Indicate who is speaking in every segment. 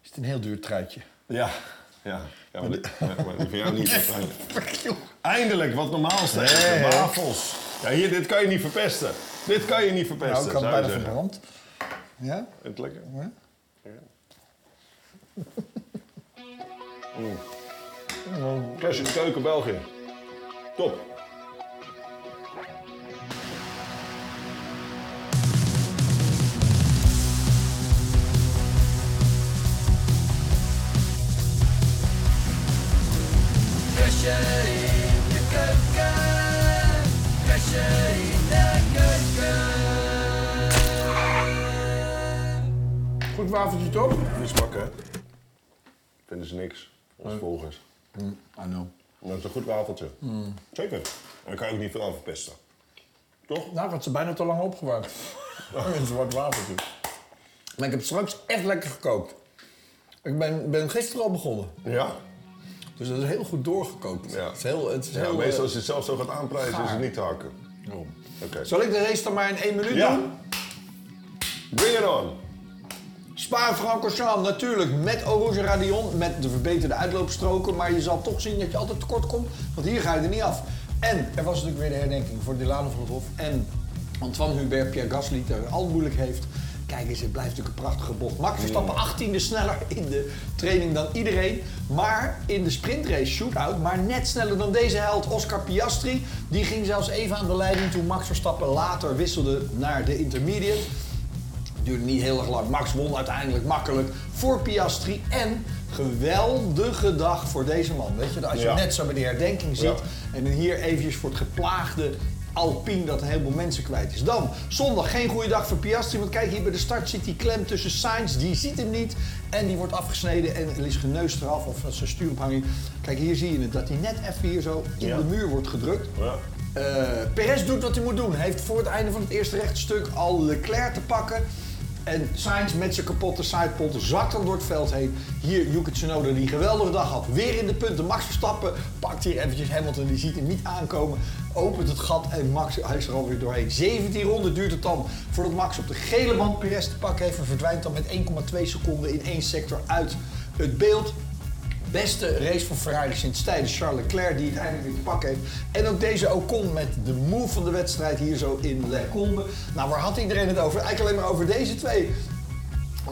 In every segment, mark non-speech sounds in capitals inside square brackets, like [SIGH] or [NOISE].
Speaker 1: het een heel duur truitje.
Speaker 2: Ja, ja. ja maar, die, maar- maar die van jou niet. waarschijnlijk.
Speaker 1: [LAUGHS] Fuck, joh.
Speaker 2: Eindelijk, wat normaal staat.
Speaker 1: Nee,
Speaker 2: de
Speaker 1: hè?
Speaker 2: wafels. Ja, hier, dit kan je niet verpesten. Dit kan je niet verpesten,
Speaker 1: Nou, ik had
Speaker 2: zou
Speaker 1: het
Speaker 2: ik
Speaker 1: bijna
Speaker 2: zeggen.
Speaker 1: verbrand. Ja?
Speaker 2: Vind je het lekker? [LAUGHS]
Speaker 1: Ja.
Speaker 2: Klassieke keuken België. Top.
Speaker 3: Pressure in de keuken. Pressure in de keuken.
Speaker 4: Goed wafeltje toch?
Speaker 2: Niet smakken, hè? Vinden ze niks. Als volgers.
Speaker 4: Ah, no.
Speaker 2: Maar het is een goed wafeltje. Zeker. En daar kan je ook niet veel aan verpesten. Toch?
Speaker 4: Nou, ik had ze bijna te lang opgewarmd.
Speaker 1: [LAUGHS] Oh.
Speaker 4: Een zwart wafeltje. Maar ik heb straks echt lekker gekookt. Ik ben, ben gisteren al begonnen.
Speaker 2: Ja.
Speaker 4: Dus dat is heel goed doorgekookt.
Speaker 2: Ja.
Speaker 4: Het is heel, het is
Speaker 2: ja
Speaker 4: heel
Speaker 2: meestal
Speaker 4: eh,
Speaker 2: als je het zelf zo gaat aanprijzen, is
Speaker 4: gaar.
Speaker 2: het niet te hakken. Oké.
Speaker 4: Zal ik de race dan maar in één minuut doen?
Speaker 2: Ja. Bring it on.
Speaker 4: Spa-Francorchamps natuurlijk met Orange Radion, met de verbeterde uitloopstroken. Maar je zal toch zien dat je altijd tekort komt, want hier ga je er niet af. En er was natuurlijk weer de herdenking voor Delano van het Hof en Antoine Hubert, Pierre Gasly, die het al moeilijk heeft. Kijk eens, het blijft natuurlijk een prachtige bocht. Max Verstappen 18e sneller in de training dan iedereen. Maar in de sprintrace shootout, maar net sneller dan deze held Oscar Piastri. Die ging zelfs even aan de leiding toen Max Verstappen later wisselde naar de intermediate. Het duurde niet heel erg lang. Max won uiteindelijk makkelijk voor Piastri. En geweldige dag voor deze man. Weet je, als je
Speaker 2: Ja.
Speaker 4: net zo bij de herdenking zit. En dan hier eventjes voor het geplaagde Alpine dat een heleboel mensen kwijt is. Dan, zondag geen goede dag voor Piastri. Want kijk, hier bij de start zit die klem tussen Sainz. Die ziet hem niet. En die wordt afgesneden en er is geneus eraf. Of dat is een stuurophanging. Kijk, hier zie je het. Dat hij net even hier zo in
Speaker 2: Ja.
Speaker 4: de muur wordt gedrukt.
Speaker 2: Ja.
Speaker 4: Eh, Perez doet wat hij moet doen. Hij heeft voor het einde van het eerste rechtstuk al Leclerc te pakken. En Sainz met zijn kapotte sidepont zakt hem door het veld heen. Hier Yuki Tsunoda die een geweldige dag had. Weer in de punten. Max Verstappen pakt hier eventjes Hamilton. Die ziet hem niet aankomen. Opent het gat en Max hij is er alweer doorheen. 17 ronden duurt het dan voordat Max op de gele band Perez te pakken heeft. En verdwijnt dan met 1,2 seconden in één sector uit het beeld. Beste race van Ferrari sinds tijdens Charles Leclerc, die het eindelijk weer te pakken heeft. En ook deze Ocon met de move van de wedstrijd hier zo in Le Combe. Nou, waar had iedereen het over? Eigenlijk alleen maar over deze twee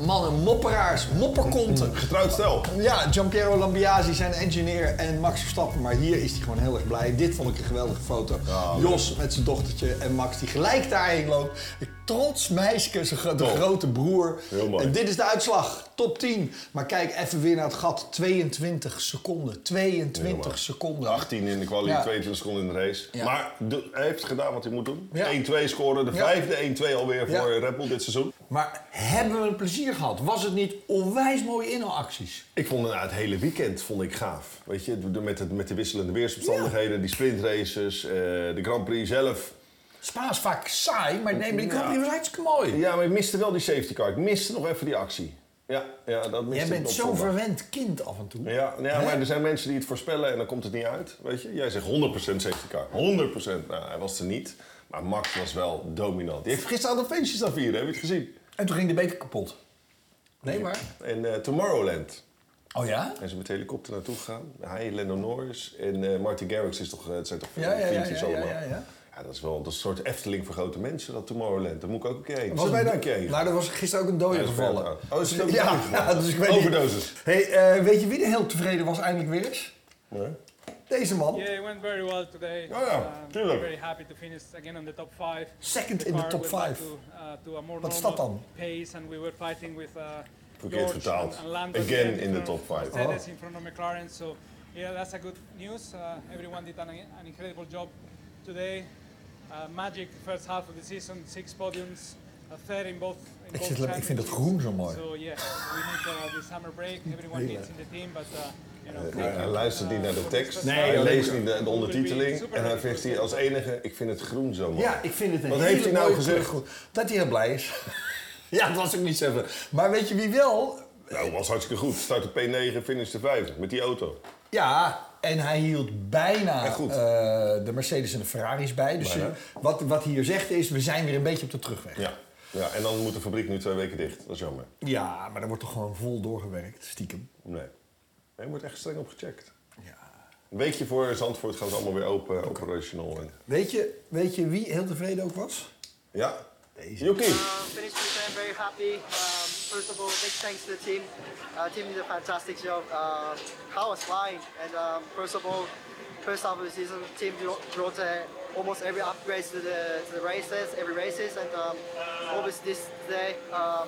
Speaker 4: mannen, mopperaars, mopperkonten.
Speaker 2: Getrouwd stel.
Speaker 4: Ja, Giampiero Lambiasi, zijn engineer en Max Verstappen. Maar hier is hij gewoon heel erg blij. Dit vond ik een geweldige foto. Jos met zijn dochtertje en Max die gelijk daarheen loopt. Trots meisje, zijn gro- de
Speaker 2: Top.
Speaker 4: grote broer.
Speaker 2: Heel mooi.
Speaker 4: En dit is de uitslag. Top 10. Maar kijk even weer naar het gat. 22 seconden. 22 seconden.
Speaker 2: 18 in de quali,
Speaker 4: Ja.
Speaker 2: 22 seconden in de race.
Speaker 4: Ja.
Speaker 2: Maar de- hij heeft gedaan wat hij moet doen.
Speaker 4: Ja.
Speaker 2: 1-2 scoren, de
Speaker 4: Ja.
Speaker 2: vijfde 1-2 alweer
Speaker 4: Ja.
Speaker 2: voor Red Bull dit seizoen.
Speaker 4: Maar hebben we een plezier gehad? Was het niet onwijs mooie inhaalacties?
Speaker 2: Ik vond het, nou, het hele weekend vond ik gaaf. Weet je, de- de- met, het, met de wisselende weersomstandigheden, die sprintraces, eh, de Grand Prix zelf.
Speaker 4: Spa is vaak saai, maar nee, maar die
Speaker 2: Ja.
Speaker 4: Grand Prix was hartstikke mooi.
Speaker 2: Ja, maar ik miste wel die safety car. Ik miste nog even die actie. Ja, ja dat miste
Speaker 4: Jij
Speaker 2: ik
Speaker 4: bent
Speaker 2: op
Speaker 4: zo'n
Speaker 2: zondag.
Speaker 4: verwend kind af en toe.
Speaker 2: Ja, nou ja
Speaker 4: Hè?
Speaker 2: maar er zijn mensen die het voorspellen en dan komt het niet uit. Weet je, jij zegt 100% safety car. 100%. Nou, hij was er niet. Maar Max was wel dominant. Die heeft gisteren aan de feestjes aan vieren, heb je het gezien?
Speaker 4: En toen ging de beker kapot. Nee, maar.
Speaker 2: En eh, Tomorrowland.
Speaker 4: Oh ja?
Speaker 2: Hij is met de helikopter naartoe gegaan. Hij, Lando Norris en eh Martin Garrix is toch, eh, het zijn toch
Speaker 4: Ja, ja, ja,
Speaker 2: vriendjes
Speaker 4: ja, ja,
Speaker 2: allemaal.
Speaker 4: ja, ja.
Speaker 2: Ja, dat is wel dat is een soort Efteling voor grote mensen, dat Tomorrowland. Daar moet ik ook een keer heen.
Speaker 4: Was
Speaker 2: Zullen
Speaker 4: bij
Speaker 2: wij daar
Speaker 4: dat
Speaker 2: een keer heen?
Speaker 4: Nou, er was gisteren ook een dode
Speaker 2: Nee, dat is
Speaker 4: gevallen.
Speaker 2: wel- oh, is het
Speaker 4: [LAUGHS]
Speaker 2: ook
Speaker 4: ja,
Speaker 2: een dode
Speaker 4: ja,
Speaker 2: gevallen?
Speaker 4: dus ik weet
Speaker 2: Overdosis.
Speaker 4: Niet. Hey, eh, weet je wie er heel tevreden was eindelijk weer is?
Speaker 2: Nee.
Speaker 4: Deze man.
Speaker 5: Yeah, it went very well today. Um,
Speaker 2: Oh, yeah, clearly.
Speaker 5: Very happy to finish again on the top five.
Speaker 4: Second in the
Speaker 5: car
Speaker 4: top
Speaker 5: went back
Speaker 4: five.
Speaker 5: To, uh, to a more
Speaker 4: Wat is
Speaker 5: normal
Speaker 4: dat dan?
Speaker 5: Pace and we were fighting with uh,
Speaker 2: Verkeerd
Speaker 5: George
Speaker 2: vertaald.
Speaker 5: and- and Lando
Speaker 2: Again
Speaker 5: there
Speaker 2: in the
Speaker 5: front
Speaker 2: top
Speaker 5: of
Speaker 2: five.
Speaker 5: Mercedes
Speaker 4: Oh.
Speaker 5: in front of McLaren. So yeah, that's a good news. Uh, everyone did an, an incredible job today. Uh, magic first half of the season, six podiums, a third in both. In
Speaker 4: Ik,
Speaker 5: both
Speaker 4: zit, le- ik vind dat
Speaker 5: championships.
Speaker 4: groen zo mooi.
Speaker 5: So yeah, we need uh, the summer break. Everyone needs in the team, but uh, you know.
Speaker 2: Hij, hij luistert niet naar de tekst, hij
Speaker 5: dat
Speaker 2: leest niet de, de ondertiteling en hij zegt hier als enige, ik vind het groen zo mooi.
Speaker 4: Ja, ik vind het een
Speaker 2: Wat
Speaker 4: hele
Speaker 2: heeft hij nou
Speaker 4: mooie
Speaker 2: gezegd?
Speaker 4: kleur. Dat hij heel blij is. [LAUGHS] ja, dat was ook niet zo. Maar weet je wie wel?
Speaker 2: Nou, was hartstikke goed. Start op P9, finish de vijfde met die auto.
Speaker 4: Ja, en hij hield bijna
Speaker 2: En goed.
Speaker 4: eh, de Mercedes en de Ferraris bij. Dus
Speaker 2: Bijna.
Speaker 4: eh, wat, wat hij hier zegt is, we zijn weer een beetje op de terugweg.
Speaker 2: Ja. Ja, en dan moet de fabriek nu twee weken dicht. Dat is jammer.
Speaker 4: Ja, maar er wordt toch gewoon vol doorgewerkt, stiekem.
Speaker 2: Nee. Nee, er wordt echt streng op gecheckt.
Speaker 4: Ja.
Speaker 2: Een weekje voor Zandvoort gaan ze allemaal weer open, operational. En...
Speaker 4: Weet je, weet je wie heel tevreden ook was?
Speaker 2: Ja,
Speaker 4: Deze.
Speaker 2: Yuki.
Speaker 6: Um, finished with them, very happy. Um, first of all, big thanks to the team. Uh, team did a fantastic job. Um I was flying, and um, first of all, first half of the season, team bro- brought uh, almost every upgrade to the, to the races, every races, and um, obviously this day, um,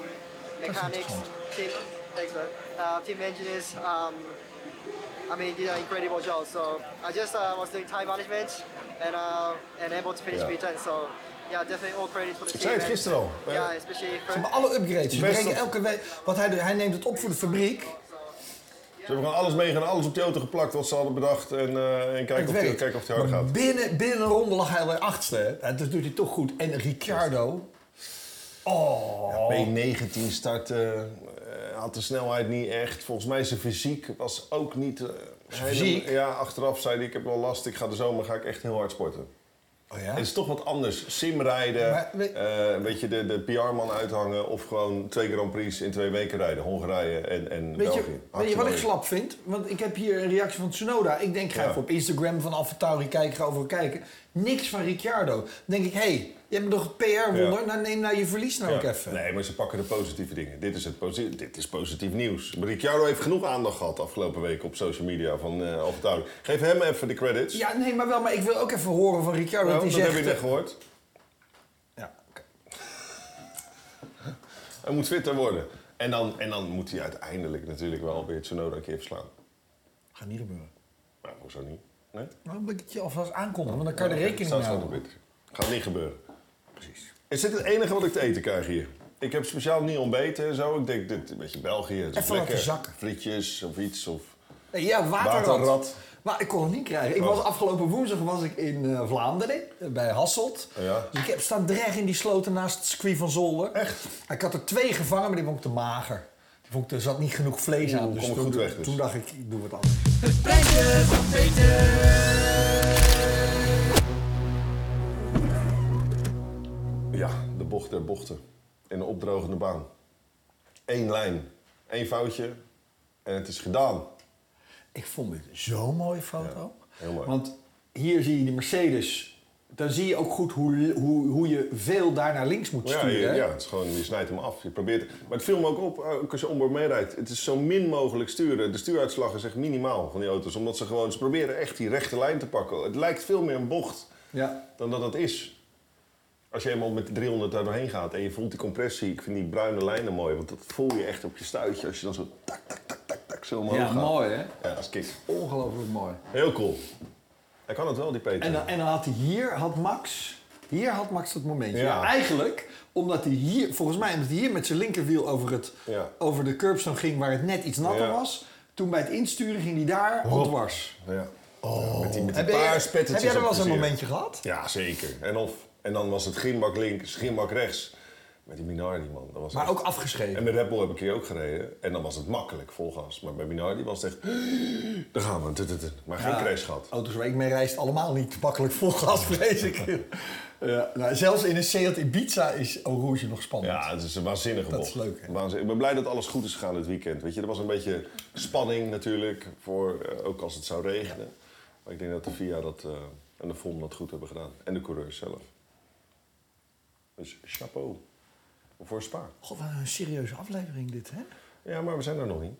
Speaker 6: mechanics, team, thanks, man. uh, team engineers. Um, I mean, did an incredible job. So I just uh, was doing time management and uh, and able to finish
Speaker 2: Yeah.
Speaker 6: V10. So yeah, definitely all credit for the
Speaker 2: Ik
Speaker 6: team.
Speaker 2: zei het
Speaker 6: and-
Speaker 2: gisteren al.
Speaker 6: ja, especially for,
Speaker 4: Maar alle upgrades. We
Speaker 2: Best
Speaker 4: brengen
Speaker 2: op-
Speaker 4: elke week. Want hij, hij neemt het op voor de fabriek.
Speaker 2: Ze hebben gewoon alles meegenomen, alles op die auto geplakt wat ze hadden bedacht. En, eh, en kijken,
Speaker 4: Het
Speaker 2: of die,
Speaker 4: werkt.
Speaker 2: kijken of die harder gaat.
Speaker 4: Binnen, binnen een ronde lag hij weer achtste. hè. En dat doet hij toch goed. En Ricciardo. Oh.
Speaker 2: P19 starten, eh, had de snelheid niet echt. Volgens mij zijn fysiek was ook niet... eh,
Speaker 4: fysiek?
Speaker 2: helemaal- Ja, achteraf zei hij, ik heb wel last, ik ga de zomer ga ik echt heel hard sporten.
Speaker 4: Oh ja?
Speaker 2: Het is toch wat anders. Simrijden,
Speaker 4: Maar we-
Speaker 2: eh, een beetje de, de PR-man uithangen... of gewoon twee Grand Prix in twee weken rijden. Hongarije en, en
Speaker 4: Weet
Speaker 2: België.
Speaker 4: je, weet je
Speaker 2: Hartstikke
Speaker 4: wat ik
Speaker 2: leuk.
Speaker 4: slap vind? Want ik heb hier een reactie van Tsunoda. Ik denk, ga
Speaker 2: Ja.
Speaker 4: even op Instagram van Alfa Tauri kijken, ga over kijken. Niks van Ricciardo. Dan denk ik, hé, hey, je hebt toch PR-wonder?
Speaker 2: Ja.
Speaker 4: Nou, neem nou je verlies nou ook
Speaker 2: Ja.
Speaker 4: even.
Speaker 2: Nee, maar ze pakken de positieve dingen. Dit is, het posi- dit is positief nieuws. Maar Ricciardo heeft genoeg aandacht gehad afgelopen week op social media van eh Alfa Tauri. Geef hem even de credits.
Speaker 4: Ja, nee, maar wel, maar ik wil ook even horen van Ricciardo.
Speaker 2: Nou,
Speaker 4: dat eh,
Speaker 2: dat
Speaker 4: hij
Speaker 2: heb
Speaker 4: zegt, eh,
Speaker 2: je net gehoord.
Speaker 4: Ja, oké.
Speaker 2: Hij moet fitter worden. En dan, en dan moet hij uiteindelijk natuurlijk wel weer Tsunoda een keer verslaan.
Speaker 4: Gaat niet gebeuren.
Speaker 2: Maar hoezo niet? Nee?
Speaker 4: Nou, dan moet ik het je alvast aankondigen, want dan kan je er rekening
Speaker 2: Staat
Speaker 4: mee
Speaker 2: gewoon
Speaker 4: houden.
Speaker 2: op Twitter. Gaat niet gebeuren. Precies. Is dit het enige wat ik te eten krijg hier? Ik heb speciaal niet ontbeten en zo. Ik denk, dit, een beetje België. Het is
Speaker 4: Even laten
Speaker 2: lekker.
Speaker 4: zakken.
Speaker 2: Frietjes of iets. Of...
Speaker 4: Nee, ja, waterrat.
Speaker 2: Waterrat.
Speaker 4: Maar ik kon het niet krijgen. Ik
Speaker 2: Oh.
Speaker 4: was afgelopen woensdag was ik in eh, Vlaanderen, eh, bij Hasselt.
Speaker 2: Oh, Ja.
Speaker 4: Dus ik heb staan dreigen in die sloten naast het circuit van Zolder.
Speaker 2: Echt?
Speaker 4: Ik had er twee gevangen, maar die vond ik te mager. Die vond ik, er zat niet genoeg vlees aan.
Speaker 2: Oeh,
Speaker 4: Dus
Speaker 2: kom ik
Speaker 4: toen,
Speaker 2: goed weg dus.
Speaker 4: toen dacht ik, ik doe wat anders.
Speaker 3: Het prijsje van Peter.
Speaker 2: Ja, de bocht der bochten. In een opdrogende baan. Eén lijn. Eén foutje. En het is gedaan.
Speaker 4: Ik vond dit zo'n mooie foto.
Speaker 2: Ja, heel mooi.
Speaker 4: Want hier zie je die Mercedes. Dan zie je ook goed hoe, hoe, hoe je veel daar naar links moet
Speaker 2: Ja,
Speaker 4: sturen.
Speaker 2: je,
Speaker 4: hè?
Speaker 2: ja, het is gewoon, je snijdt hem af. Je probeert, maar het viel me ook op, eh, ook als je onboard meerijdt. Het is zo min mogelijk sturen. De stuuruitslag is echt minimaal van die auto's. Omdat ze gewoon, ze proberen echt die rechte lijn te pakken. Het lijkt veel meer een bocht
Speaker 4: Ja.
Speaker 2: dan dat het is. Als je eenmaal met 300 daar doorheen gaat en je voelt die compressie. Ik vind die bruine lijnen mooi, want dat voel je echt op je stuitje. Als je dan zo tak, tak, tak, tak, tak, zo omhoog
Speaker 4: Ja,
Speaker 2: gaat.
Speaker 4: mooi, hè?
Speaker 2: Ja, dat is kick.
Speaker 4: Ongelooflijk mooi.
Speaker 2: Heel cool. Hij kan het wel, die Peter.
Speaker 4: En dan, en dan had hij hier, had Max, hier had Max dat momentje.
Speaker 2: Ja.
Speaker 4: Ja. eigenlijk, omdat hij hier, volgens mij, omdat hij hier met zijn linkerwiel over, het,
Speaker 2: Ja.
Speaker 4: over de curbstone ging waar het net iets natter
Speaker 2: Ja.
Speaker 4: was. Toen bij het insturen ging hij daar op dwars.
Speaker 2: Ja. Ja, met die, met die
Speaker 4: Heb jij-
Speaker 2: paarspetters
Speaker 4: heb jij
Speaker 2: is
Speaker 4: er
Speaker 2: ook
Speaker 4: wel eens een
Speaker 2: plezier.
Speaker 4: momentje gehad?
Speaker 2: Ja, zeker. En, of, en dan was het grindbak links, grindbak rechts. Met die Minardi, man. Dat was
Speaker 4: Maar
Speaker 2: echt-
Speaker 4: ook afgeschreven.
Speaker 2: En met Red Bull heb ik hier ook gereden. En dan was het makkelijk, vol gas. Maar bij Minardi was het echt... [GASPS] Daar gaan we. Tut, tut, tut. Maar geen crash gehad.
Speaker 4: Auto's waar ik mee reis, allemaal niet makkelijk vol gas, vrees ik. ja, nou, zelfs in een Seat Ibiza is Eau Rouge nog spannend.
Speaker 2: Ja, het is een waanzinnige
Speaker 4: Dat
Speaker 2: bocht.
Speaker 4: is leuk, hè?
Speaker 2: Waanzin- Ik ben blij dat alles goed is gegaan dit weekend. Weet je, er was een beetje spanning natuurlijk, voor, eh, ook als het zou regenen. Maar ik denk dat de VIA dat, eh, en de FOM dat goed hebben gedaan. En de coureurs zelf. Dus chapeau. Voor Spa.
Speaker 4: God, wat een serieuze aflevering dit, hè?
Speaker 2: Ja, maar we zijn er nog niet.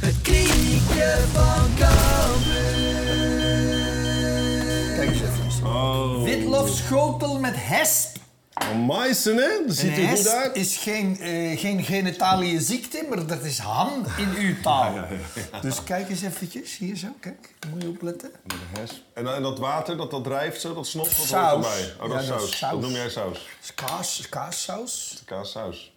Speaker 3: Het kriekje van Kampen.
Speaker 4: Kijk eens even.
Speaker 2: Oh.
Speaker 4: Witlof schotel met hesp.
Speaker 2: Meissen, hè? Dat ziet
Speaker 4: Een
Speaker 2: er goed
Speaker 4: hest
Speaker 2: uit.
Speaker 4: is geen, eh, geen genitalië ziekte, maar dat is ham in uw taal. Dus kijk eens eventjes, hier zo, kijk. Moet je opletten.
Speaker 2: En, eh, en dat water dat dat drijft zo, dat snot, dat
Speaker 4: Saus.
Speaker 2: hoort erbij. Oh, dat,
Speaker 4: Ja,
Speaker 2: is saus. Dat noem jij saus.
Speaker 4: Dat is kaas, is kaassaus.
Speaker 2: Kaassaus.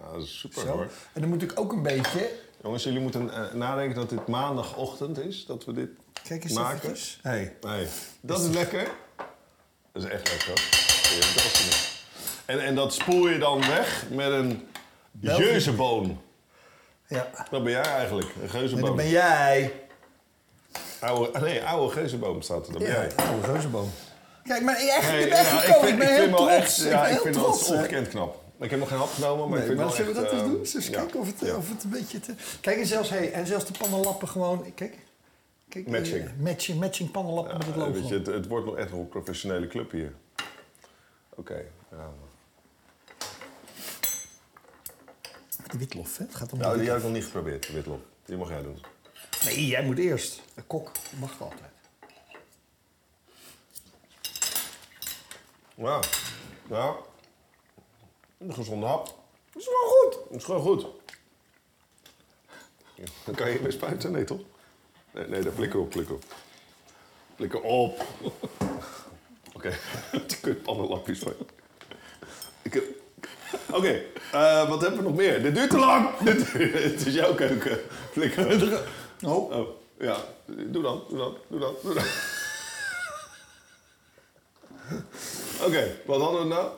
Speaker 2: Ja, dat is super
Speaker 4: Zo.
Speaker 2: hoor.
Speaker 4: En dan moet ik ook een beetje...
Speaker 2: Jongens, jullie moeten eh, nadenken dat dit maandagochtend is, dat we dit
Speaker 4: Kijk eens
Speaker 2: maken.
Speaker 4: eventjes. Hey.
Speaker 2: Nee, dat is lekker. Dat is echt lekker. hoor. Ja, dat is niet. En, en dat spoel je dan weg met een
Speaker 4: België.
Speaker 2: jeuzeboon.
Speaker 4: Ja.
Speaker 2: Dat ben jij eigenlijk, een
Speaker 4: En
Speaker 2: geuzenboon.
Speaker 4: dan ben jij...
Speaker 2: Oude, nee, oude geuzenboom staat er, dat ben jij.
Speaker 4: Oh, een reuzenboom.
Speaker 1: Kijk, maar echt,
Speaker 2: Nee,
Speaker 1: ik ben
Speaker 2: ja,
Speaker 1: echt
Speaker 2: ik
Speaker 1: gekomen.
Speaker 2: vind-
Speaker 1: Ik ben
Speaker 2: ik vind
Speaker 1: heel
Speaker 2: wel
Speaker 1: trots.
Speaker 2: echt- Ja, ik
Speaker 1: ben heel
Speaker 2: vind dat
Speaker 1: trots. hè.
Speaker 2: ongekend knap. Ik heb nog geen hap genomen, maar ik
Speaker 1: Nee,
Speaker 2: vind
Speaker 1: maar
Speaker 2: wel
Speaker 1: zullen we
Speaker 2: echt,
Speaker 1: dat eens
Speaker 2: eh,
Speaker 1: doen? Eens
Speaker 2: ja.
Speaker 1: kijken of het, eh,
Speaker 2: Ja.
Speaker 1: of het een beetje te... Kijk, en zelfs, hey, en zelfs de pannenlappen gewoon... Kijk. kijk eh,
Speaker 2: Matching.
Speaker 1: matching. Matching pannenlappen met het
Speaker 2: Ja,
Speaker 1: logo.
Speaker 2: weet je, het, het wordt nog echt nog een professionele club hier. Oké. ja.
Speaker 1: De witlof, hè? Het gaat om de
Speaker 2: Nou, die
Speaker 1: witlof.
Speaker 2: heb ik nog niet geprobeerd, Witlof. Die mag jij doen.
Speaker 1: Nee, jij moet eerst. De kok mag altijd.
Speaker 2: Ja. Ja. Een gezonde hap.
Speaker 1: Dat is wel goed.
Speaker 2: Dat is gewoon goed. Ja, Dan kan je mee spuiten, nee toch? Nee, nee, daar flikker op, flikker op. Flikker op. Oké, [LAUGHS] die kut pannenlapjes van je. Ik heb- Oké, eh, wat hebben we nog meer? Dit duurt te lang! [LAUGHS] Dit- Het is jouw keuken. Flikker op.
Speaker 1: Oh.
Speaker 2: Oh, ja. Doe dan, doe dan, doe dan, doe dan. Oké, wat hadden we nou?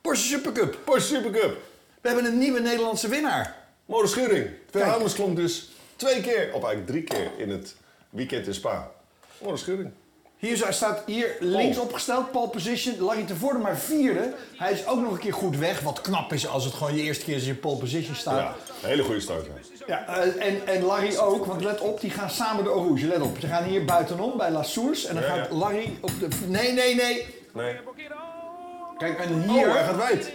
Speaker 1: Porsche Supercup.
Speaker 2: Porsche Supercup.
Speaker 1: We hebben een nieuwe Nederlandse winnaar.
Speaker 2: Molen Schuring. Wilhelmus klonk dus twee keer, of eigenlijk drie keer in het weekend in Spa. Molen Schuring.
Speaker 4: Hier zo- staat hier
Speaker 2: Oh.
Speaker 4: links opgesteld, pole position. Larry tevoren maar vierde. Hij is ook nog een keer goed weg. Wat knap is als het gewoon je eerste keer is in je pole position staat.
Speaker 2: Ja, een hele goede start. ja.
Speaker 4: Ja, eh, en, en Larry ook, want let op, die gaan samen de Rouge. Let op, ze gaan hier buitenom bij La Source en dan
Speaker 2: Ja, ja.
Speaker 4: gaat Larry op de... Nee, nee, nee.
Speaker 2: Nee. Oh,
Speaker 4: Kijk, en hier...
Speaker 2: wijd.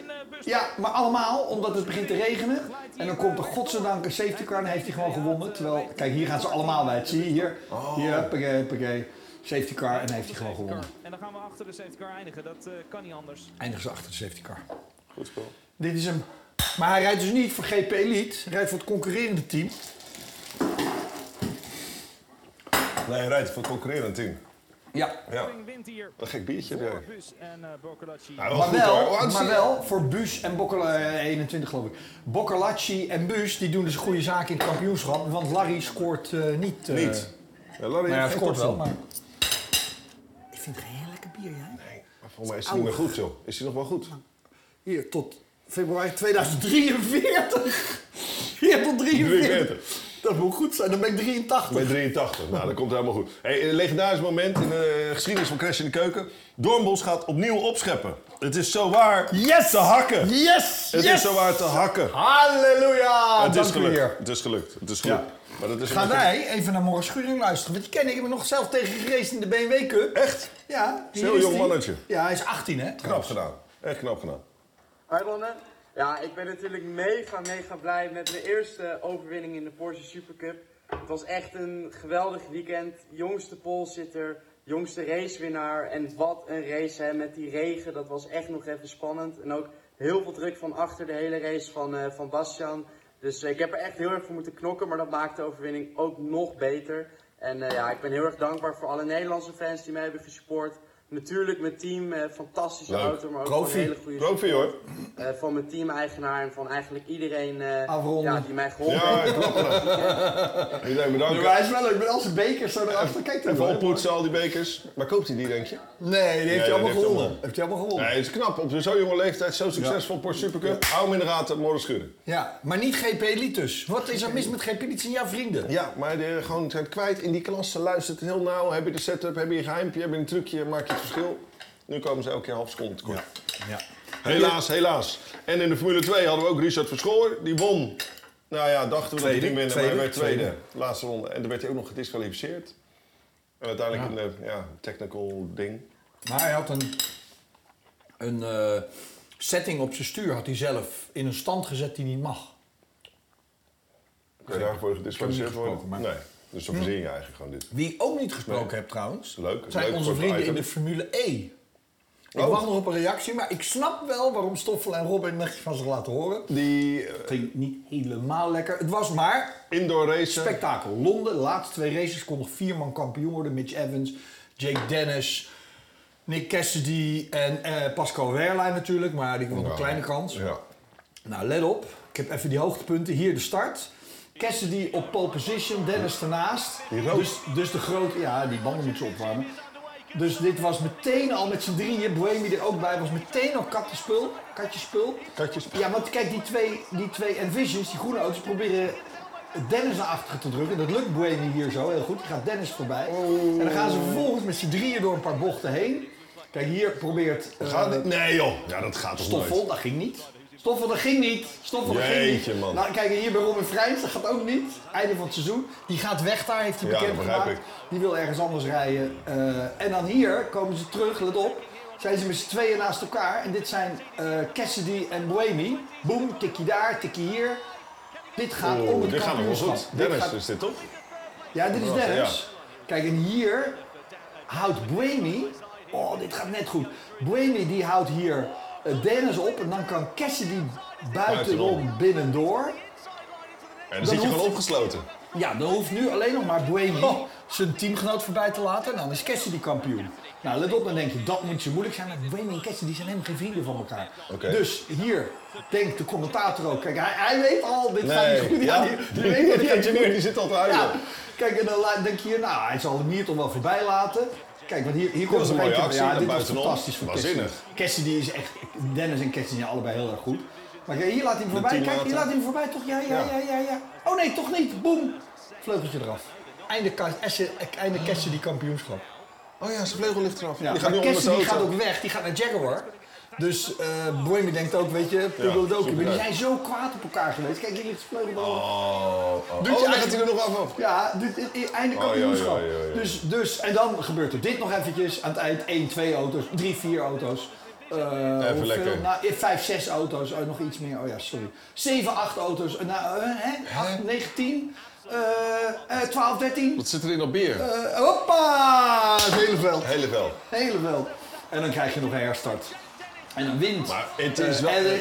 Speaker 4: Ja, maar allemaal omdat het begint te regenen. En dan komt er godzijdank een safety car en heeft hij gewoon gewonnen. Terwijl, kijk, hier gaan ze allemaal wijd. Zie je hier? Hier, huppakee, huppakee. Safety car en heeft hij gewoon gewonnen.
Speaker 7: En dan gaan we achter de safety car eindigen. Dat eh, kan niet anders.
Speaker 4: Eindigen ze achter de safety car.
Speaker 2: Goed spel.
Speaker 4: Dit is hem. Maar hij rijdt dus niet voor GP Elite. Hij rijdt voor het concurrerende team.
Speaker 2: Nee, hij rijdt voor het concurrerend team.
Speaker 4: Ja,
Speaker 2: Ja,
Speaker 7: Wint hier
Speaker 2: een gek biertje heb
Speaker 7: voor
Speaker 2: jij. Nou.
Speaker 7: Bus en eh Boccolacci.
Speaker 2: Ja,
Speaker 4: Maar
Speaker 2: goed, hoor. Oh, Hoe
Speaker 4: wel,
Speaker 2: oud is
Speaker 4: maar
Speaker 2: hij?
Speaker 4: wel voor Buus en Boccola, eh, 21 geloof ik. Boccolacci en Buus die doen dus een goede zaak in het kampioenschap. Want Larry scoort eh, niet. eh,
Speaker 2: Niet. Ja, Larry
Speaker 4: Maar ja,
Speaker 2: heeft geen
Speaker 4: scoort wel.
Speaker 2: kopstoel.
Speaker 4: Maar...
Speaker 1: Ik vind het geen lekker bier, jij.
Speaker 2: Maar Volgens mij is hij niet meer goed, joh. Is hij nog wel goed?
Speaker 1: Hier, tot februari 2043. [LAUGHS] Hier, tot 43.
Speaker 2: 43.
Speaker 1: Dat moet goed zijn, dan ben ik 83.
Speaker 2: Met 83. Nou, dat komt helemaal goed. Hey, een legendarisch moment in de geschiedenis van Crash in de Keuken. Doornbos gaat opnieuw opscheppen. Het is zo waar
Speaker 1: Yes!
Speaker 2: te hakken.
Speaker 1: Yes!
Speaker 2: Het
Speaker 1: yes!
Speaker 2: is zo waar te hakken.
Speaker 4: Halleluja!
Speaker 2: het, is
Speaker 4: dank u
Speaker 2: gelukt.
Speaker 4: heer.
Speaker 2: het is gelukt. Het is gelukt. Maar dat is
Speaker 4: Gaan
Speaker 2: omdat je-
Speaker 4: wij even naar Morris Schuring luisteren. Want die ken ik, ik heb hem nog zelf tegen gereden in de BMW Cup.
Speaker 2: Echt?
Speaker 4: Ja. hier
Speaker 2: Zo'n
Speaker 4: is
Speaker 2: jong
Speaker 4: die.
Speaker 2: mannetje.
Speaker 4: Ja, hij is 18 hè.
Speaker 2: Knap gedaan. Echt knap gedaan.
Speaker 8: Hoi Ronne. Ja, ik ben natuurlijk mega, mega blij met mijn eerste overwinning in de Porsche Supercup. Het was echt een geweldig weekend. Jongste polsitter, jongste racewinnaar. En wat een race hè, met die regen. Dat was echt nog even spannend. En ook heel veel druk van achter de hele race van, eh, van Bastian. Dus eh, ik heb er echt heel erg voor moeten knokken, maar dat maakt de overwinning ook nog beter. En eh, ja, ik ben heel erg dankbaar voor alle Nederlandse fans die mij hebben gesupport. Natuurlijk mijn team, eh, fantastische
Speaker 2: Leuk.
Speaker 8: auto, maar ook gewoon een hele goede
Speaker 2: Profi hoor.
Speaker 8: eh, van mijn team-eigenaar en van eigenlijk iedereen eh,
Speaker 4: Afronden.
Speaker 8: ja, die mij geholpen
Speaker 2: Ja,
Speaker 8: heeft.
Speaker 2: knap gedaan. [LAUGHS] Iedereen bedankt.
Speaker 4: Maar hij is wel leuk met al zijn bekers zo erachter. Kijk
Speaker 2: Even
Speaker 4: daarvoor.
Speaker 2: oppoetsen al die bekers. Waar koopt hij die denk je?
Speaker 4: Nee, die heeft hij
Speaker 2: die
Speaker 4: allemaal
Speaker 2: heeft
Speaker 4: gewonnen.
Speaker 2: allemaal.
Speaker 4: Heeft hij allemaal gewonnen.
Speaker 2: Nee, het is knap. Op zo'n jonge leeftijd zo succesvol Porsche Supercup. Hou hem in de gaten. Morgen schudden.
Speaker 4: Ja, maar niet GP Elite dus. Wat is er mis met GP Elite? Het zijn jouw vrienden.
Speaker 2: Ja, maar de, gewoon zijn kwijt in die klasse. Luistert heel nauw. Heb je de setup, heb je een geheimpje, heb je een trucje, maak je het verschil. Nu komen ze elke keer half seconde tekort. Helaas, helaas. En in de Formule 2 hadden we ook Richard Verschoor. Die won. Nou ja, dachten we dat hij ging winnen, maar hij werd tweede. Laatste ronde. En dan werd hij ook nog gedisqualificeerd. En uiteindelijk een eh, ja, technical ding.
Speaker 4: Maar hij had een, een eh, setting op zijn stuur, had hij zelf in een stand gezet die niet mag.
Speaker 2: Kun je daarvoor gedisqualificeerd
Speaker 4: Ik heb hem niet
Speaker 2: worden?
Speaker 4: gesproken, maar-
Speaker 2: Nee. Dus dan verzin je eigenlijk gewoon dit.
Speaker 4: Wie ik ook niet gesproken heb trouwens,
Speaker 2: Leuk,
Speaker 4: zijn
Speaker 2: leuk
Speaker 4: onze
Speaker 2: voor het
Speaker 4: vrienden in
Speaker 2: item.
Speaker 4: de Formule E. Ik
Speaker 2: Oh.
Speaker 4: wacht nog op een reactie, maar ik snap wel waarom Stoffel en Robin netjes van zich laten horen.
Speaker 2: Die eh,
Speaker 4: Het ging niet helemaal lekker. Het was maar
Speaker 2: indoor race.
Speaker 4: spektakel. Londen, de laatste twee races kon nog vier man kampioen worden. Mitch Evans, Jake Dennis, Nick Cassidy en eh, Pascal Wehrlein natuurlijk. Maar die kwam op een kleine kans.
Speaker 2: Ja.
Speaker 4: Nou, let op. Ik heb even die hoogtepunten. Hier de start. Cassidy op pole position, Dennis ernaast.
Speaker 2: Die rood.
Speaker 4: Dus, dus de grote... Ja, die banden moeten ze opwarmen. Dus dit was meteen al met z'n drieën, Boemi er ook bij, was meteen al kattenspul. Katjespul.
Speaker 2: Katjespul.
Speaker 4: Ja, want kijk, die twee, die twee Envisions, die groene auto's, proberen Dennis naar achteren te drukken. Dat lukt
Speaker 2: Oh.
Speaker 4: Boemi hier zo heel goed. Die gaat Dennis voorbij. En dan gaan ze vervolgens met z'n drieën door een paar bochten heen. Kijk, hier probeert eh,
Speaker 2: Gaat dit? Nee joh, ja, dat gaat toch
Speaker 4: Stoffel,
Speaker 2: nooit.
Speaker 4: dat ging niet. Stoffel, dat ging niet. Stoffel, dat ging
Speaker 2: Jeetje,
Speaker 4: niet.
Speaker 2: man.
Speaker 4: Nou, kijk, hier bij Robin Vrijns, dat gaat ook niet. Einde van het seizoen. Die gaat weg daar, heeft hij
Speaker 2: Ja, dat
Speaker 4: bekend
Speaker 2: begrijp
Speaker 4: gemaakt.
Speaker 2: ik.
Speaker 4: Die wil ergens anders rijden. Eh, en dan hier komen ze terug, let op. Zijn ze met z'n tweeën naast elkaar. En dit zijn eh, Cassidy en Buemi. Boom, tikkie daar, tikkie hier. Dit gaat
Speaker 2: Oeh,
Speaker 4: om het
Speaker 2: Oh, dit gaat nog wel
Speaker 4: kampioenschap.
Speaker 2: goed.
Speaker 4: Dit
Speaker 2: Dennis
Speaker 4: gaat-
Speaker 2: is dit toch?
Speaker 4: ja, dit is
Speaker 2: Ja.
Speaker 4: Dennis. Kijk, en hier houdt Buemi... Oh, dit gaat net goed. Buemi die houdt hier eh, Dennis op en dan kan Cassidy buitenom
Speaker 2: Buitenom.
Speaker 4: binnendoor.
Speaker 2: En dan zit je
Speaker 4: hoeft-
Speaker 2: gewoon opgesloten.
Speaker 4: Ja, dan hoeft nu alleen nog maar Buemi zijn teamgenoot voorbij te laten en dan is Cassidy kampioen. Nou, let op, dan denk je, dat moet je moeilijk zijn. Maar Buemi en Cassidy zijn helemaal geen vrienden van elkaar.
Speaker 2: Oké.
Speaker 4: Dus hier denkt de commentator ook, kijk, hij, hij weet al, dit gaat niet goed.
Speaker 2: ja,
Speaker 4: die- die
Speaker 2: die,
Speaker 4: weet dat
Speaker 2: [LAUGHS] die
Speaker 4: hij-
Speaker 2: engineer die zit al te huilen.
Speaker 4: ja, kijk, en dan la- denk je hier, nou, hij zal hem hier toch wel voorbij laten. Kijk, want hier, hier komt
Speaker 2: was een
Speaker 4: nog
Speaker 2: mooie
Speaker 4: keer-
Speaker 2: actie,
Speaker 4: Ja,
Speaker 2: naar
Speaker 4: dit was
Speaker 2: buitenom.
Speaker 4: fantastisch voor Cassidy.
Speaker 2: Waanzinnig.
Speaker 4: Cassidy is echt... Dennis en Cassidy zijn allebei heel erg goed. Maar kijk, hier laat hij hem voorbij.
Speaker 2: tien
Speaker 4: Kijk, hier
Speaker 2: later.
Speaker 4: laat hij hem voorbij, toch? Ja, ja, ja,
Speaker 2: Ja.
Speaker 4: ja, ja. Oh nee, toch niet. Boom. Vleugeltje eraf. Einde, Cas- Esse- einde Cassidy kampioenschap.
Speaker 2: Mm. Oh ja, zijn vleugel ligt eraf.
Speaker 4: Ja,
Speaker 2: die gaat
Speaker 4: maar
Speaker 2: nu onder
Speaker 4: Cassidy
Speaker 2: zijn
Speaker 4: gaat
Speaker 2: auto.
Speaker 4: ook weg. Die gaat naar Jaguar. Dus eh Boemi denkt ook, weet je,
Speaker 2: Ja,
Speaker 4: Pugeldoki. maar die
Speaker 2: superleuk.
Speaker 4: zijn zo kwaad op elkaar geweest. Kijk, hier ligt de vleugel eraf.
Speaker 2: Oh, oh.
Speaker 4: Doet je
Speaker 2: Oh, dan
Speaker 4: eigen-
Speaker 2: gaat hij er nog af af.
Speaker 4: Ja, dit, dit- dit- einde
Speaker 2: Oh, ja,
Speaker 4: kampioenschap.
Speaker 2: ja, ja, ja.
Speaker 4: Dus, dus, en dan gebeurt er dit nog eventjes. Aan het eind 1, 2 auto's, 3, 4 auto's. Eh, hoeveel?
Speaker 2: lekker.
Speaker 4: Nou, 5, 6 auto's, oh, nog iets meer. Oh ja, sorry. 7, 8 auto's. Eh, Nou, eh, hè? 8, 9, 10, eh, eh, 12, 13.
Speaker 2: Wat zit er in dat bier?
Speaker 4: Eh, hoppa! Het hele veld.
Speaker 2: Hele wel.
Speaker 4: Het hele veld. En dan krijg je nog een herstart. En dan wint
Speaker 2: Maar het
Speaker 4: eh,
Speaker 2: is wel-
Speaker 4: Allen-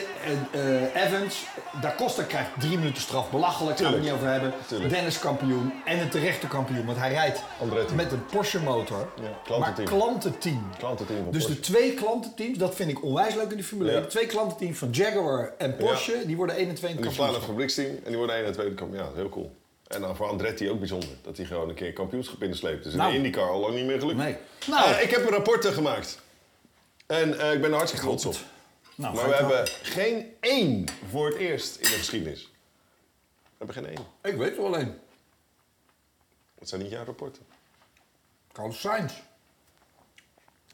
Speaker 4: eh, eh, Evans. Da Costa krijgt drie minuten straf. Belachelijk, gaan we het niet
Speaker 2: Tuurlijk.
Speaker 4: over hebben.
Speaker 2: Tuurlijk.
Speaker 4: Dennis kampioen en een terechte kampioen. Want hij rijdt
Speaker 2: Andretti.
Speaker 4: met een Porsche motor.
Speaker 2: klantenteam.
Speaker 4: Maar klantenteam.
Speaker 2: Klantenteam van
Speaker 4: dus de
Speaker 2: Porsche.
Speaker 4: twee klantenteams, dat vind ik onwijs leuk in de Formule
Speaker 2: Ja.
Speaker 4: 1. Twee klantenteams van Jaguar en Porsche, die worden 1 en 2 in het
Speaker 2: Die slaan een
Speaker 4: kampioenschap.
Speaker 2: fabrieksteam en die worden 1 en 2 kampioen. Ja, dat is heel cool. En dan voor Andretti ook bijzonder. Dat hij gewoon een keer kampioenschap insleept. Dus in
Speaker 4: Nou.
Speaker 2: de IndyCar al lang niet meer gelukt.
Speaker 4: Nee. Nou.
Speaker 2: Eh, ik heb een rapporten gemaakt. En eh, ik ben er hartstikke trots op.
Speaker 4: Nou,
Speaker 2: Maar
Speaker 4: ga
Speaker 2: we
Speaker 4: ik wel.
Speaker 2: hebben geen één voor het eerst in de geschiedenis. We hebben geen één.
Speaker 4: Ik weet er alleen.
Speaker 2: Dat zijn niet jouw rapporten.
Speaker 4: Carlos Sainz.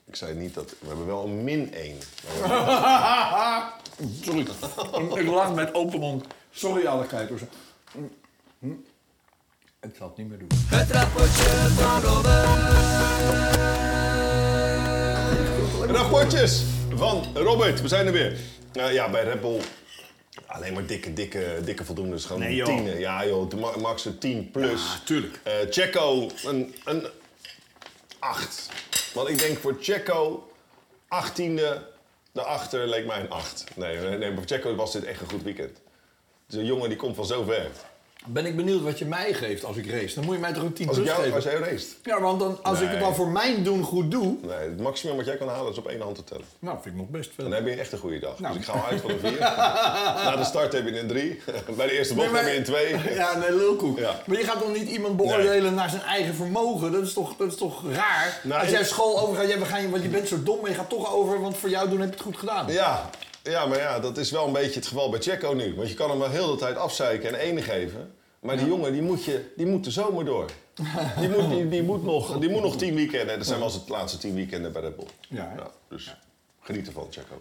Speaker 2: Ik zei niet dat... We hebben wel een min één.
Speaker 4: Sorry. ik lach met open mond. Sorry alle kijkers. Hm. Hm. Ik zal het niet meer doen.
Speaker 3: Het rapportje van Robert.
Speaker 2: Rapportjes van Robert. We zijn er weer. Nou ja, bij Red Bull alleen maar dikke, dikke, dikke voldoende. Gewoon
Speaker 4: Nee, joh.
Speaker 2: tienen. Ja joh, de Ma- Max een 10 plus.
Speaker 4: Ja, tuurlijk.
Speaker 2: Eh, Checo een, een 8. Want ik denk voor Checo 18e daarachter leek mij een 8. Nee, eh, nee, maar voor Checo was dit echt een goed weekend. Dus een jongen die komt van zo ver.
Speaker 4: Ben ik benieuwd wat je mij geeft als ik race. Dan moet je mij toch een 10
Speaker 2: Als, ik
Speaker 4: plus
Speaker 2: jou, als
Speaker 4: geven.
Speaker 2: jij raced.
Speaker 4: Ja, want dan, als ik het
Speaker 2: Nee.
Speaker 4: dan voor mijn doen goed doe...
Speaker 2: Nee, het maximum wat jij kan halen is op één hand te tellen.
Speaker 4: Nou, vind ik nog best veel.
Speaker 2: Dan heb je echt een goede dag.
Speaker 4: Nou.
Speaker 2: Dus ik ga wel uit van een
Speaker 4: [LAUGHS]
Speaker 2: 4. Na de start heb je een 3. [LAUGHS] Bij de eerste bocht
Speaker 4: Nee, maar-
Speaker 2: heb je een 2.
Speaker 4: [LAUGHS] Ja, nee, lulkoek.
Speaker 2: Ja.
Speaker 4: Maar je gaat toch niet iemand beoordelen naar zijn eigen vermogen? Dat is toch, dat is toch raar?
Speaker 2: Nou,
Speaker 4: als jij
Speaker 2: ik-
Speaker 4: school overgaat, ja, we gaan, je- want je bent zo dom, maar je gaat toch over, want voor jou doen heb je het goed gedaan.
Speaker 2: Ja. ja, maar ja, dat is wel een beetje het geval bij Checo nu. Want je kan hem wel heel de tijd afzeiken en ene geven. Maar die jongen, die moet, je, die moet de zomer door. Die moet, die, die moet, nog, die moet nog tien weekenden. En Dat zijn wel eens het laatste tien weekenden bij Red Bull.
Speaker 4: Ja, hè?
Speaker 2: Nou, dus geniet ervan, Checo.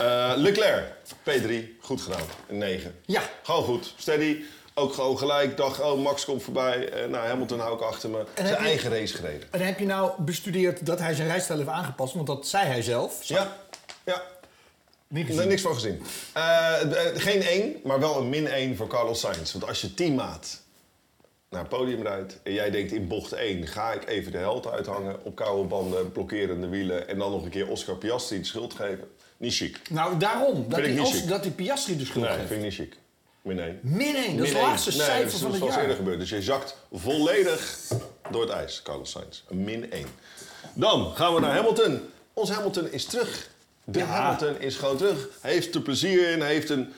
Speaker 2: Eh, Leclerc, P3, goed gedaan. Een 9.
Speaker 4: Ja.
Speaker 2: Gewoon goed, steady. Ook gewoon gelijk. Dacht, oh, Max komt voorbij. Eh, nou, Hamilton hou ik achter me. Zijn
Speaker 4: heb je-
Speaker 2: eigen race gereden.
Speaker 4: En heb je nou bestudeerd dat hij zijn rijstijl heeft aangepast? Want dat zei hij zelf.
Speaker 2: Ja, ja.
Speaker 4: Niet gezien.
Speaker 2: Nee, niks van gezien. Eh, eh, geen 1, maar wel een min 1 voor Carlos Sainz. Want als je teammaat naar het podium rijdt en jij denkt in bocht 1 ga ik even de held uithangen op koude banden, blokkerende wielen en dan nog een keer Oscar Piastri de schuld geven. Niet chic.
Speaker 4: Nou, daarom. Dat
Speaker 2: ik
Speaker 4: die,
Speaker 2: niet
Speaker 4: als,
Speaker 2: chic.
Speaker 4: dat die Piastri de schuld
Speaker 2: Nee,
Speaker 4: geeft.
Speaker 2: vind ik niet chic. Min 1.
Speaker 4: Min één, dat is het laagste cijfer van het
Speaker 2: Dat is
Speaker 4: jaar.
Speaker 2: eerder gebeurd. Dus je zakt volledig door het ijs, Carlos Sainz. Een min 1. Dan gaan we naar Hamilton. Ons Hamilton is terug. De Hamilton is gewoon terug. Hij heeft er plezier in. Hij heeft een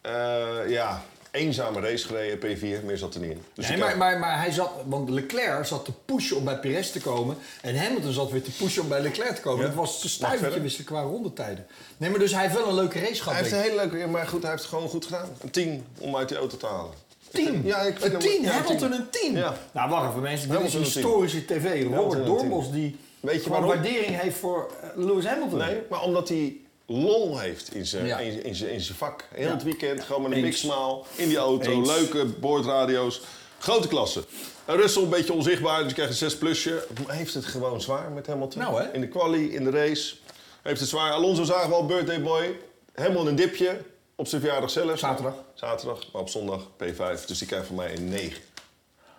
Speaker 2: eh, ja, eenzame race gereden, P4. Meer zat er niet in. Dus
Speaker 4: Nee,
Speaker 2: je
Speaker 4: maar,
Speaker 2: kan-
Speaker 4: maar, maar hij zat, want Leclerc zat te pushen om bij Perez te komen. En Hamilton zat weer te pushen om bij Leclerc te komen.
Speaker 2: Ja.
Speaker 4: Dat was te
Speaker 2: Mag
Speaker 4: stuivertje
Speaker 2: verder.
Speaker 4: wisselen qua rondetijden. Nee, maar dus hij heeft wel een leuke race
Speaker 2: Hij
Speaker 4: gehad.
Speaker 2: heeft een
Speaker 4: denk ik.
Speaker 2: hele leuke... ja, Maar goed, hij heeft het gewoon goed gedaan. Een 10 om uit die auto te halen. Ik
Speaker 4: Tien.
Speaker 2: vind- Ja, ik vind
Speaker 4: een
Speaker 2: hem-
Speaker 4: tien.
Speaker 2: ja,
Speaker 4: Hamilton een tien.
Speaker 2: Ja.
Speaker 4: Nou, wacht even mensen. Dit is
Speaker 2: Hamilton een tien.
Speaker 4: historische tv.
Speaker 2: Hamilton
Speaker 4: Robert
Speaker 2: een
Speaker 4: Dormos die
Speaker 2: Weet je
Speaker 4: gewoon
Speaker 2: waarom?
Speaker 4: waardering heeft voor eh, Lewis Hamilton.
Speaker 2: Nee, maar omdat hij lol heeft in zijn,
Speaker 4: Ja.
Speaker 2: in, in zijn, in zijn vak. Heel
Speaker 4: Ja.
Speaker 2: het weekend, gewoon met een
Speaker 4: Eens.
Speaker 2: big smile, in die auto,
Speaker 4: Eens.
Speaker 2: leuke boordradio's. Grote klasse. En Russell een beetje onzichtbaar, dus krijgt een 6 plusje. Heeft het gewoon zwaar met Hamilton.
Speaker 4: Nou, hè?
Speaker 2: In de quali, in de race. Heeft het zwaar. Alonso zagen we al, birthday boy. Helemaal een dipje. Op zijn verjaardag zelf.
Speaker 4: Zaterdag.
Speaker 2: Zaterdag, maar op zondag P5. Dus die krijgt van mij een 9.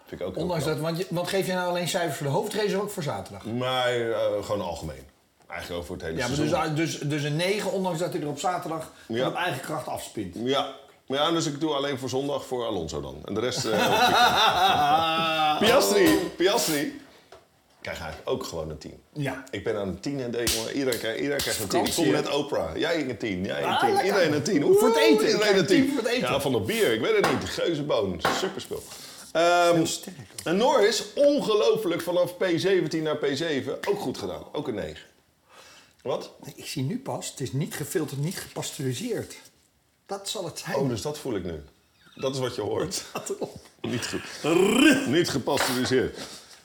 Speaker 2: Vind ik ook heel
Speaker 4: Ondanks
Speaker 2: knap.
Speaker 4: dat, want, je- want geef je nou alleen cijfers voor de hoofdrace of ook voor zaterdag?
Speaker 2: Maar eh, gewoon algemeen. Eigenlijk over het hele
Speaker 4: Ja, maar
Speaker 2: seizoen.
Speaker 4: dus, dus, dus een 9, ondanks dat hij er op zaterdag
Speaker 2: Ja.
Speaker 4: van op eigen kracht afspint.
Speaker 2: Ja. Maar ja, dus ik doe alleen voor zondag voor Alonso dan. En de
Speaker 4: [LAUGHS]
Speaker 2: rest... eh, [LAUGHS] Piastri! Piastri! Krijg eigenlijk ook gewoon een 10.
Speaker 4: Ja.
Speaker 2: Ik ben aan een 10 en denk, jongen, iedereen krijgt, iedereen krijgt een 10. Ik
Speaker 4: Vakantie,
Speaker 2: voel me
Speaker 4: hè?
Speaker 2: net Oprah. Jij een 10, jij een
Speaker 4: Ah,
Speaker 2: 10.
Speaker 4: lekker.
Speaker 2: iedereen een 10.
Speaker 4: Voor het eten. Ik
Speaker 2: Iedereen
Speaker 4: krijg
Speaker 2: een
Speaker 4: een 10
Speaker 2: 10.
Speaker 4: voor het eten.
Speaker 2: Ja, van dat bier. Ik weet het niet. Geuzenboon. Superspul. Ehm,
Speaker 4: sterk
Speaker 2: en Norris, ongelooflijk vanaf P17 naar P7. Ook goed gedaan. Ook een 9. Wat?
Speaker 4: Nee, Ik zie nu pas, het is niet gefilterd, niet gepasteuriseerd. Dat zal het zijn. [LAUGHS]
Speaker 2: Oh, dus dat voel ik nu. Dat is wat je hoort.
Speaker 4: Staat erop.
Speaker 2: Niet goed. Niet gepasteuriseerd.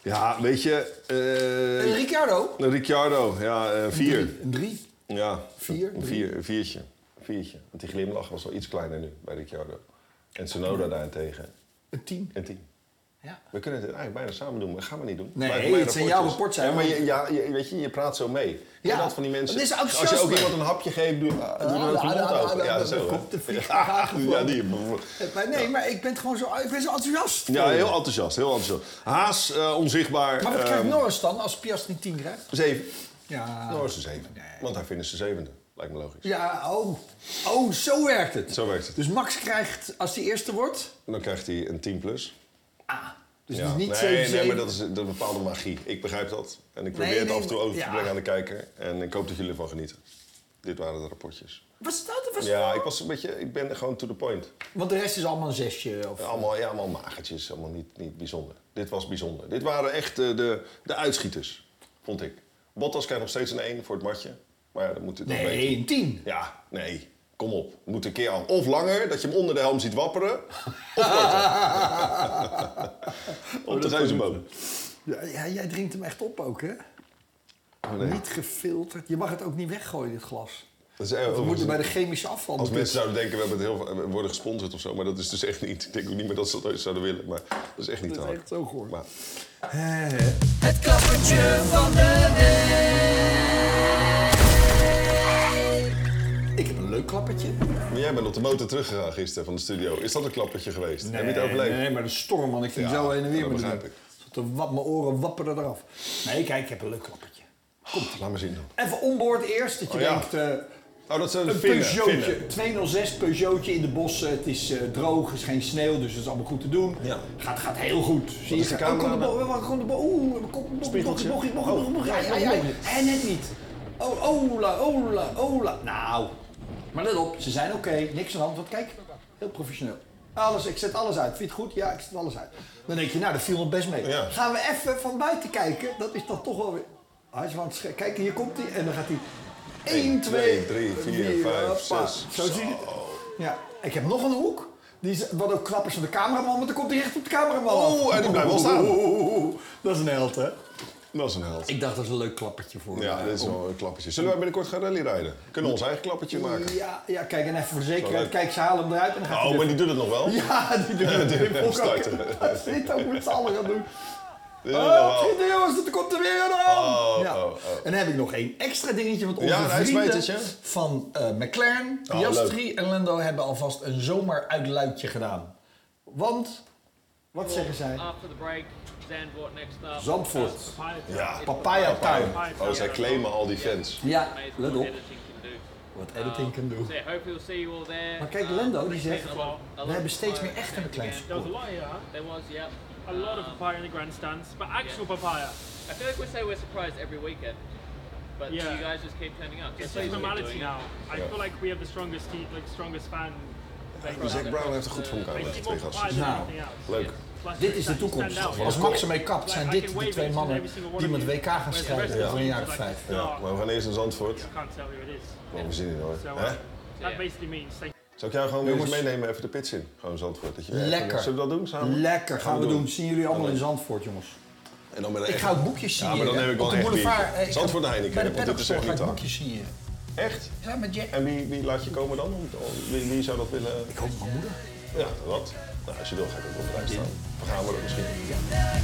Speaker 2: Ja, weet je.
Speaker 4: Eh,
Speaker 2: eh,
Speaker 4: Ricciardo?
Speaker 2: Ricciardo, ja, eh, vier.
Speaker 4: Een 3.
Speaker 2: Ja,
Speaker 4: Vier,
Speaker 2: een,
Speaker 4: drie.
Speaker 2: vier, een viertje. Een viertje. Want die glimlach was wel iets kleiner nu bij Ricciardo. En Sonoda daarentegen.
Speaker 4: Een 10.
Speaker 2: En tien.
Speaker 4: Ja.
Speaker 2: We kunnen het eigenlijk bijna samen doen, maar dat gaan we niet doen.
Speaker 4: Nee,
Speaker 2: Wij
Speaker 4: het
Speaker 2: doen
Speaker 4: zijn
Speaker 2: rapportjes.
Speaker 4: jouw rapport, zijn
Speaker 2: Ja, maar
Speaker 4: we.
Speaker 2: je, ja, je, weet je, je praat zo mee.
Speaker 4: Ja,
Speaker 2: Ja, dat van die mensen.
Speaker 4: dat is
Speaker 2: Als je ook
Speaker 4: enthousiasme.
Speaker 2: iemand een hapje geeft, doe, ah, doe dan ook je
Speaker 4: ah,
Speaker 2: mond
Speaker 4: ah, ah,
Speaker 2: open.
Speaker 4: ah,
Speaker 2: Ja,
Speaker 4: ah,
Speaker 2: zo.
Speaker 4: dan
Speaker 2: hè.
Speaker 4: komt de vlieg
Speaker 2: Ja,
Speaker 4: aangevlogen.
Speaker 2: die.
Speaker 4: Eh, Maar nee, maar ik ben gewoon zo, ik ben zo enthousiast.
Speaker 2: Ja, heel enthousiast, heel enthousiast. Haas, eh, onzichtbaar.
Speaker 4: Maar wat
Speaker 2: ehm,
Speaker 4: krijgt Norris dan als Piastri 10 krijgt?
Speaker 2: Zeven.
Speaker 4: Ja.
Speaker 2: Norris is zeven. Want hij vindt ze zevende. Lijkt me logisch.
Speaker 4: Ja, oh. Oh, zo werkt het.
Speaker 2: Zo werkt het.
Speaker 4: Dus Max krijgt, als hij eerste wordt...
Speaker 2: En dan krijgt hij een 10 plus.
Speaker 4: Ah, dus
Speaker 2: Ja.
Speaker 4: het is niet 7-7.
Speaker 2: nee, nee, maar dat is een bepaalde magie. Ik begrijp dat. En ik probeer
Speaker 4: Nee,
Speaker 2: het
Speaker 4: nee,
Speaker 2: af en toe
Speaker 4: maar-
Speaker 2: over te
Speaker 4: ja.
Speaker 2: brengen aan de kijker. En ik hoop dat jullie ervan genieten. Dit waren de rapportjes.
Speaker 4: Wat staat er? Wat
Speaker 2: Ja, ik was een beetje... Ik ben gewoon to the point.
Speaker 4: Want de rest is allemaal een zesje. Of...
Speaker 2: Allemaal, ja, allemaal magertjes. Allemaal niet, niet bijzonder. Dit was bijzonder. Dit waren echt eh, de, de uitschieters, vond ik. Bottas krijgt nog steeds een 1 voor het matje. Maar ja, dat moet het nog weten.
Speaker 4: Nee, een 10.
Speaker 2: Ja, nee. Kom op. Moet een keer aan. Of langer, dat je hem onder de helm ziet wapperen. Of
Speaker 4: [LAUGHS] Oh,
Speaker 2: korter. op de reuzenboom.
Speaker 4: Ja, ja, jij drinkt hem echt op ook, hè?
Speaker 2: Oh, nee.
Speaker 4: Niet gefilterd. Je mag het ook niet weggooien, dit glas.
Speaker 2: Oh, Dat is erg.
Speaker 4: We moeten bij de chemische afval.
Speaker 2: Als mensen zouden denken, we, hebben het heel, we worden gesponsord of zo. Maar dat is dus echt niet. Ik denk ook niet meer dat ze dat ooit zouden willen. Maar dat is echt niet
Speaker 4: Dat
Speaker 2: te
Speaker 4: is
Speaker 2: hard.
Speaker 4: echt zo goor.
Speaker 2: Maar
Speaker 3: Het klappertje van de week.
Speaker 4: Ik heb een leuk klappertje.
Speaker 2: maar jij bent op de motor teruggegaan gisteren van de studio. Is dat een klappertje geweest? Heb je het overleefd?
Speaker 4: Nee, maar de storm, man. Ik ging
Speaker 2: Ja,
Speaker 4: zo heen en weer
Speaker 2: dat
Speaker 4: met
Speaker 2: begrijp
Speaker 4: de-
Speaker 2: ik.
Speaker 4: Tot de wap, mijn oren wapperen eraf. Nee, kijk, ik heb een leuk klappertje.
Speaker 2: Laat maar zien dan.
Speaker 4: Even onboord eerst, dat je
Speaker 2: Oh, ja.
Speaker 4: denkt... eh,
Speaker 2: Oh, dat zijn de
Speaker 4: Een
Speaker 2: vinnen.
Speaker 4: Peugeotje,
Speaker 2: vinnen.
Speaker 4: 206 Peugeotje in de bossen. Het is eh, droog, het is geen sneeuw, dus het is allemaal goed te doen.
Speaker 2: Ja.
Speaker 4: Gaat, gaat heel goed. Zie
Speaker 2: is de
Speaker 4: Oh, komt de
Speaker 2: camera? nou?
Speaker 4: bo- oh, komt de bo- Oeh, er komt een bocht,
Speaker 2: Spiegeltje? Oh,
Speaker 4: bocht, bocht, bocht, bocht, bocht. Ja, ja, ja. En net niet. Oh, ola, ola, ola. Nou, maar let op, ze zijn oké, niks aan de hand. Want kijk, heel professioneel. Alles, ik zet alles uit. Vind je het goed? Ja, ik zet alles uit. Dan denk je, nou, dat viel nog best mee.
Speaker 2: Ja.
Speaker 4: Gaan we even van buiten kijken? Dat is dan toch wel weer... Hij is wel aan het sche- Kijk, hier komt hij. En dan gaat hij... 1, 2, 3, 4, 5, 6. Zo zie je. Ja, ik heb nog een hoek. Die is, wat ook knap is van de cameraman, want dan komt hij recht op de cameraman. af.
Speaker 2: Oeh, en die blijft wel staan.
Speaker 4: Oeh, oeh, oeh, oeh. Dat is een held, hè?
Speaker 2: Dat is een held.
Speaker 4: Ik dacht, dat is een leuk klappertje voor
Speaker 2: Ja,
Speaker 4: eh,
Speaker 2: dit is
Speaker 4: om-
Speaker 2: wel een klappertje. Zullen wij binnenkort gaan rally rijden? Kunnen we ons eigen klappertje maken?
Speaker 4: Ja, ja, kijk, en even voor de zekerheid.
Speaker 2: leuk.
Speaker 4: Kijk, ze halen hem eruit en dan gaat hij
Speaker 2: Oh,
Speaker 4: weer-
Speaker 2: maar die doet het nog wel?
Speaker 4: Ja, die doen het.
Speaker 2: die
Speaker 4: Die
Speaker 2: hebben
Speaker 4: volk ook.
Speaker 2: starten.
Speaker 4: Dat zit ook met z'n allen gaan doen.
Speaker 2: Dit doet het nog
Speaker 4: Oh,
Speaker 2: wel.
Speaker 4: vrienden, jongens, er komt er weer een aan.
Speaker 2: Oh,
Speaker 4: ja.
Speaker 2: oh, oh.
Speaker 4: En dan heb ik nog één extra dingetje. Want onze
Speaker 2: Ja, een
Speaker 4: vrienden
Speaker 2: uitsmijtertje.
Speaker 4: van eh, McLaren,
Speaker 2: Oh,
Speaker 4: Piastri en Lando hebben alvast een zomeruitluidje gedaan. Want, wat zeggen zij?
Speaker 9: After the break, Zandvoort next up.
Speaker 4: Zandvoort.
Speaker 9: Uh, Papaya Town.
Speaker 2: Ja.
Speaker 4: Papaya Town.
Speaker 2: Oh, zij claimen al die fans.
Speaker 4: Ja,
Speaker 9: Amazing
Speaker 4: let
Speaker 9: what
Speaker 4: op.
Speaker 9: editing can do.
Speaker 4: Wat editing can do.
Speaker 9: So yeah, hopefully we'll see you all there.
Speaker 4: Maar kijk,
Speaker 9: Um,
Speaker 4: Lando die
Speaker 9: there's
Speaker 4: zegt,
Speaker 9: been a lot- a lot
Speaker 4: we hebben
Speaker 9: of
Speaker 4: steeds meer
Speaker 9: fire
Speaker 4: echte
Speaker 9: fans
Speaker 4: McLaren
Speaker 9: again.
Speaker 7: There was a lot here, huh?
Speaker 9: There was, yeah.
Speaker 7: A lot of papaya in the grandstands, but actual papaya.
Speaker 9: I feel like we say we're surprised every weekend, but
Speaker 7: Yeah.
Speaker 9: you guys just keep turning up.
Speaker 7: It's
Speaker 9: So
Speaker 7: just
Speaker 9: please keep
Speaker 7: normality
Speaker 9: doing it.
Speaker 7: now. I feel like we have the strongest team, like strongest fan. Like,
Speaker 2: Dus Zack Brown heeft het goed voor elkaar
Speaker 7: I see
Speaker 2: gelegd,
Speaker 7: more
Speaker 2: twee
Speaker 7: papaya
Speaker 2: gasten.
Speaker 7: than
Speaker 4: Nou.
Speaker 7: anything else.
Speaker 2: Leuk.
Speaker 7: Plus,
Speaker 4: Dit is de
Speaker 7: you
Speaker 4: toekomst.
Speaker 7: stand out.
Speaker 4: Als Max ermee kapt, zijn
Speaker 7: Like, I
Speaker 4: dit
Speaker 7: can
Speaker 4: de
Speaker 7: wave
Speaker 4: twee
Speaker 7: it to
Speaker 4: mannen
Speaker 7: every single one
Speaker 4: die
Speaker 7: of
Speaker 4: met
Speaker 7: you.
Speaker 4: WK gaan
Speaker 7: Whereas the
Speaker 4: strijden
Speaker 7: rest of
Speaker 4: over
Speaker 7: the
Speaker 4: een
Speaker 7: team
Speaker 4: jaar
Speaker 7: is
Speaker 4: of
Speaker 7: like,
Speaker 4: vijf.
Speaker 2: Ja, maar we gaan eerst naar Zandvoort.
Speaker 7: I can't tell who it is.
Speaker 2: Maar we zien het nooit.
Speaker 7: So
Speaker 2: Hè?
Speaker 7: uh, that basically means thank
Speaker 2: Zou ik jou gewoon weer eens
Speaker 4: Jongens.
Speaker 2: meenemen even de pits in? Gewoon Zandvoort. Dat je
Speaker 4: Lekker.
Speaker 2: Zullen we dat doen samen?
Speaker 4: Lekker, gaan we doen. Zien jullie allemaal
Speaker 2: Alleen.
Speaker 4: in Zandvoort, jongens.
Speaker 2: En dan ben
Speaker 4: Ik ga ook boekjes zien.
Speaker 2: Ja, maar dan neem ik wel
Speaker 4: de
Speaker 2: echt
Speaker 4: boulevard, eh,
Speaker 2: bier.
Speaker 4: ik
Speaker 2: Zandvoort
Speaker 4: ga-
Speaker 2: Heineken,
Speaker 4: Bij de
Speaker 2: want dit is
Speaker 4: pedagogstoel
Speaker 2: echt
Speaker 4: ga
Speaker 2: niet
Speaker 4: ik
Speaker 2: waar.
Speaker 4: boekjes zien.
Speaker 2: Echt?
Speaker 4: Ja, met Jack.
Speaker 2: En wie, wie laat je komen dan? Om- Wie, wie zou dat willen?
Speaker 4: Ik hoop Oh, mijn moeder.
Speaker 2: Ja, wat? Nou, als je wil ga ik ook op de rij staan. Dan gaan we er misschien.
Speaker 3: Yeah.